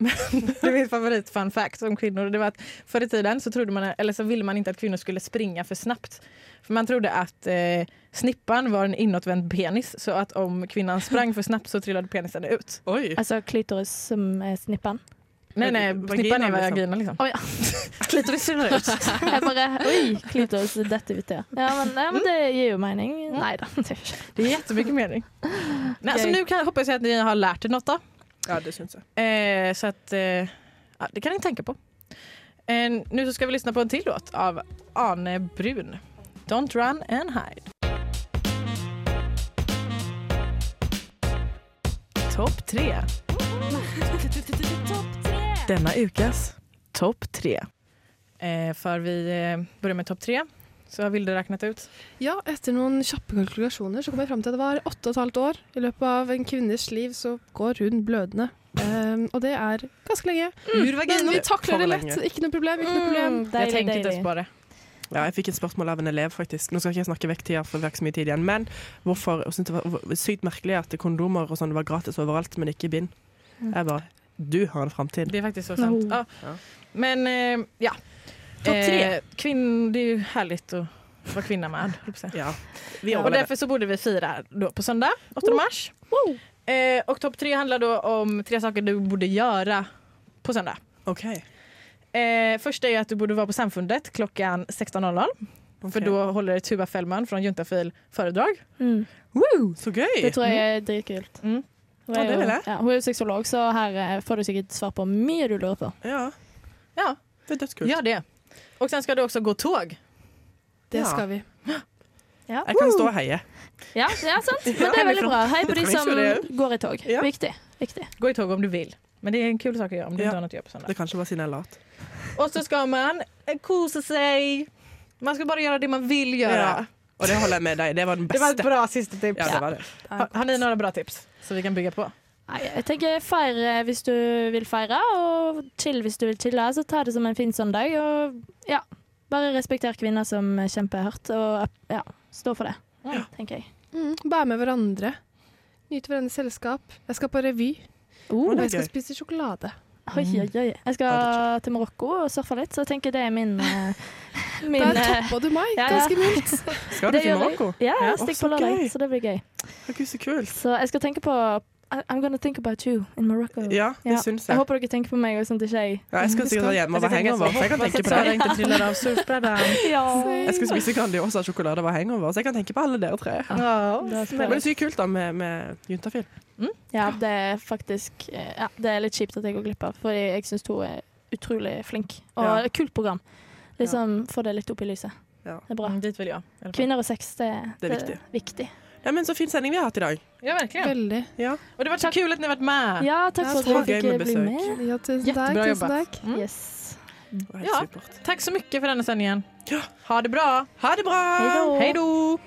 Speaker 1: Men [laughs] det är min favorit fun fact om kvinnor. Det var att förr i tiden så, trodde man, eller så ville man inte att kvinnor skulle springa för snabbt. För man trodde att eh, snippan var en inåtvänd penis. Så att om kvinnan sprang för snabbt så trillade penisen ut.
Speaker 2: Oj.
Speaker 3: Altså klitoris som er snippan?
Speaker 1: Nej, nej,
Speaker 2: Vagina,
Speaker 1: snippan är
Speaker 2: liksom.
Speaker 1: vagina liksom. [laughs]
Speaker 3: Å ja.
Speaker 1: Klitoris trillar ut.
Speaker 3: Jeg bare [laughs] Oi, klitoris, dette vet jeg. Ja, men, ja, men det gir jo mening. Nei da. det gjør ikke.
Speaker 1: Det är jättemycket mening. Nej, alltså, nu kan, hoppas jag att ni har lärt er något då.
Speaker 2: Ja, det syns jeg.
Speaker 1: Eh, så att, eh, ja, det kan ni tänka på. Eh, nu så ska vi lyssna på en till låt av Arne Brun. Don't run and hide. Topp tre. Denna ukas topp tre. Eh, för vi eh, börjar med topp tre. Så har Vilde räknat ut.
Speaker 5: Ja, etter noen kjappe kalkulasjoner så kom jeg fram til at det var åtte og et halvt år. I løpet av en kvinnes liv så går hun blødende. Ehm, og det er ganske lenge.
Speaker 1: Ur
Speaker 5: Men vi
Speaker 1: vagina.
Speaker 5: takler det
Speaker 2: Mm. for
Speaker 5: lett.
Speaker 2: lenge.
Speaker 5: Ikke noe problem. ikke noe problem.
Speaker 3: Mm,
Speaker 1: Jag
Speaker 3: deilig,
Speaker 1: tänkte inte ens
Speaker 3: deilig.
Speaker 1: på det.
Speaker 2: Ja, jeg fikk et spørsmål av en elev, faktisk. Nå skal ikke jeg snakke vekk tida, for vi har ikke så mye tid igjen. Men hvorfor jeg synes det var hvor- sykt merkelig at kondomer og sånn var gratis overalt, men ikke bind? Jeg bare Du har en framtid.
Speaker 1: Det är faktiskt så sant.
Speaker 3: No.
Speaker 1: Ja.
Speaker 2: Ja.
Speaker 1: Men eh, ja.
Speaker 2: Topp tre.
Speaker 1: Eh, kvinn, det är ju härligt att vara kvinna med. höll jag på att säga.
Speaker 2: Ja. Vi
Speaker 1: Och
Speaker 2: overlever.
Speaker 1: därför så borde vi fira då på söndag, 8 mars. Eh, och topp tre handlar då om tre saker du borde göra på söndag.
Speaker 2: OK.
Speaker 1: Eh, första är att du borde vara på samfundet klockan 16.00 för
Speaker 2: Ok.
Speaker 1: då håller Tuva Fällman från Juntafil föredrag.
Speaker 3: Mm.
Speaker 2: Woo, så gøy!
Speaker 3: Det tror jeg er dritkult.
Speaker 1: Mm.
Speaker 3: Hun
Speaker 2: Ja,
Speaker 3: er,
Speaker 2: det
Speaker 3: jo,
Speaker 2: vil jeg.
Speaker 3: ja, hun er jo sexolog, så her eh, får du sikkert svar på mye du lurer på.
Speaker 2: Ja,
Speaker 1: Ja,
Speaker 2: det er dødskult.
Speaker 1: gör det. Och sen ska du også gå tåg.
Speaker 5: Det
Speaker 2: Ja.
Speaker 5: skal vi.
Speaker 3: Ja,
Speaker 2: Jeg kan stå og heie.
Speaker 3: ja, ja
Speaker 2: [laughs]
Speaker 3: sant. Men det er veldig bra. Hei på de som går i tog.
Speaker 2: Ja.
Speaker 3: Viktig. Viktig.
Speaker 1: Gå i tåg om du vill. Men det är en kul sak att göra om du
Speaker 2: Ja.
Speaker 1: inte har något att göra på söndag.
Speaker 2: Det kanskje var siden jeg er lat.
Speaker 1: Och så ska man eh, kosa sig. Man ska bara göra det man vill göra.
Speaker 2: Ja, Og det holder jeg med deg. Det var den
Speaker 1: Det var
Speaker 2: beste.
Speaker 1: ett bra sista tips.
Speaker 2: Ja, det var det.
Speaker 1: Har, har ni några bra tips så vi kan bygga på?
Speaker 3: Nei, jeg tenker feir eh, hvis du vil feire, og chill hvis du vil chille. Så ta det som en fin søndag, og ja. Bare respekter kvinner som kjemper hardt, og ja, stå for det,
Speaker 1: Ja.
Speaker 3: tenker jeg.
Speaker 5: Mm. Være med hverandre. Nyte hverandres selskap. Jeg skal på revy,
Speaker 3: Oh,
Speaker 5: og
Speaker 2: Oi, Uh, det er
Speaker 5: jeg skal
Speaker 2: gøy.
Speaker 5: spise sjokolade.
Speaker 3: Oi, oi, oi.
Speaker 2: Mm.
Speaker 3: Jeg skal til Marokko og surfe litt, så jeg tenker det er min
Speaker 2: [laughs]
Speaker 3: eh, min,
Speaker 5: Der
Speaker 3: eh,
Speaker 5: toppa du meg
Speaker 3: [laughs] ja, ja.
Speaker 5: ganske mildt.
Speaker 3: [laughs]
Speaker 2: Skal du
Speaker 3: det
Speaker 2: til
Speaker 3: gjør jeg.
Speaker 2: Marokko?
Speaker 3: Ja,
Speaker 1: Ja.
Speaker 3: jeg stikker
Speaker 2: Å, så
Speaker 3: på lørdag,
Speaker 2: gøy.
Speaker 3: så det blir gøy.
Speaker 2: Herregud, så kult.
Speaker 3: Så jeg skal tenke på I- I'm gonna think about you in Morocco.
Speaker 2: Ja, det
Speaker 3: Ja. Jeg
Speaker 2: syns jeg.
Speaker 3: håper dere tenker på meg, og sånn at ikke jeg
Speaker 2: Ja, jeg skal sikkert hjem og være hangover, for jeg kan tenke på
Speaker 1: Sara
Speaker 2: det.
Speaker 1: inte trillar av surfbrädan.
Speaker 2: [laughs] Jeg skal spise Grandiosa sjokolade og være hangover, så jeg kan tenke på alle dere tre.
Speaker 1: [laughs] Ja.
Speaker 2: Men det er sykt kult da med, med juntafil.
Speaker 3: Ja, det er faktisk eh, ja, Det er litt kjipt at jeg går glipp av, fordi jeg syns hun er utrolig flink. Og
Speaker 2: Ja.
Speaker 3: et kult program. Liksom Få det litt opp i lyset.
Speaker 2: Ja.
Speaker 3: Det er bra.
Speaker 1: Mm, dit vill jag. i alla fall.
Speaker 3: Kvinner og sex, det,
Speaker 2: Det er
Speaker 3: er viktig.
Speaker 2: Ja, men så fin sending vi har hatt i dag.
Speaker 1: Ja, verkligen.
Speaker 5: Veldig.
Speaker 2: Ja.
Speaker 1: Och det var så kul att ni har varit med.
Speaker 3: Ja, takk
Speaker 5: Ja,
Speaker 3: for at
Speaker 2: så
Speaker 3: dere
Speaker 2: gøy
Speaker 3: fikk eh,
Speaker 2: med
Speaker 3: bli
Speaker 2: besøk.
Speaker 3: med.
Speaker 5: Ja, tusen
Speaker 1: Jättebra
Speaker 5: takk. Tusen
Speaker 1: jobbat.
Speaker 5: takk.
Speaker 1: Mm.
Speaker 3: Yes.
Speaker 2: Det var helt
Speaker 1: Ja.
Speaker 2: supert.
Speaker 1: Tack så mycket för denna sändningen.
Speaker 2: Ja.
Speaker 1: Ha det bra.
Speaker 2: Ha det bra!
Speaker 1: Hej då.